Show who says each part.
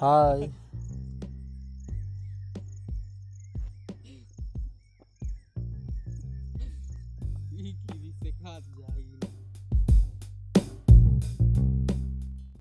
Speaker 1: high
Speaker 2: কি দিছে খাত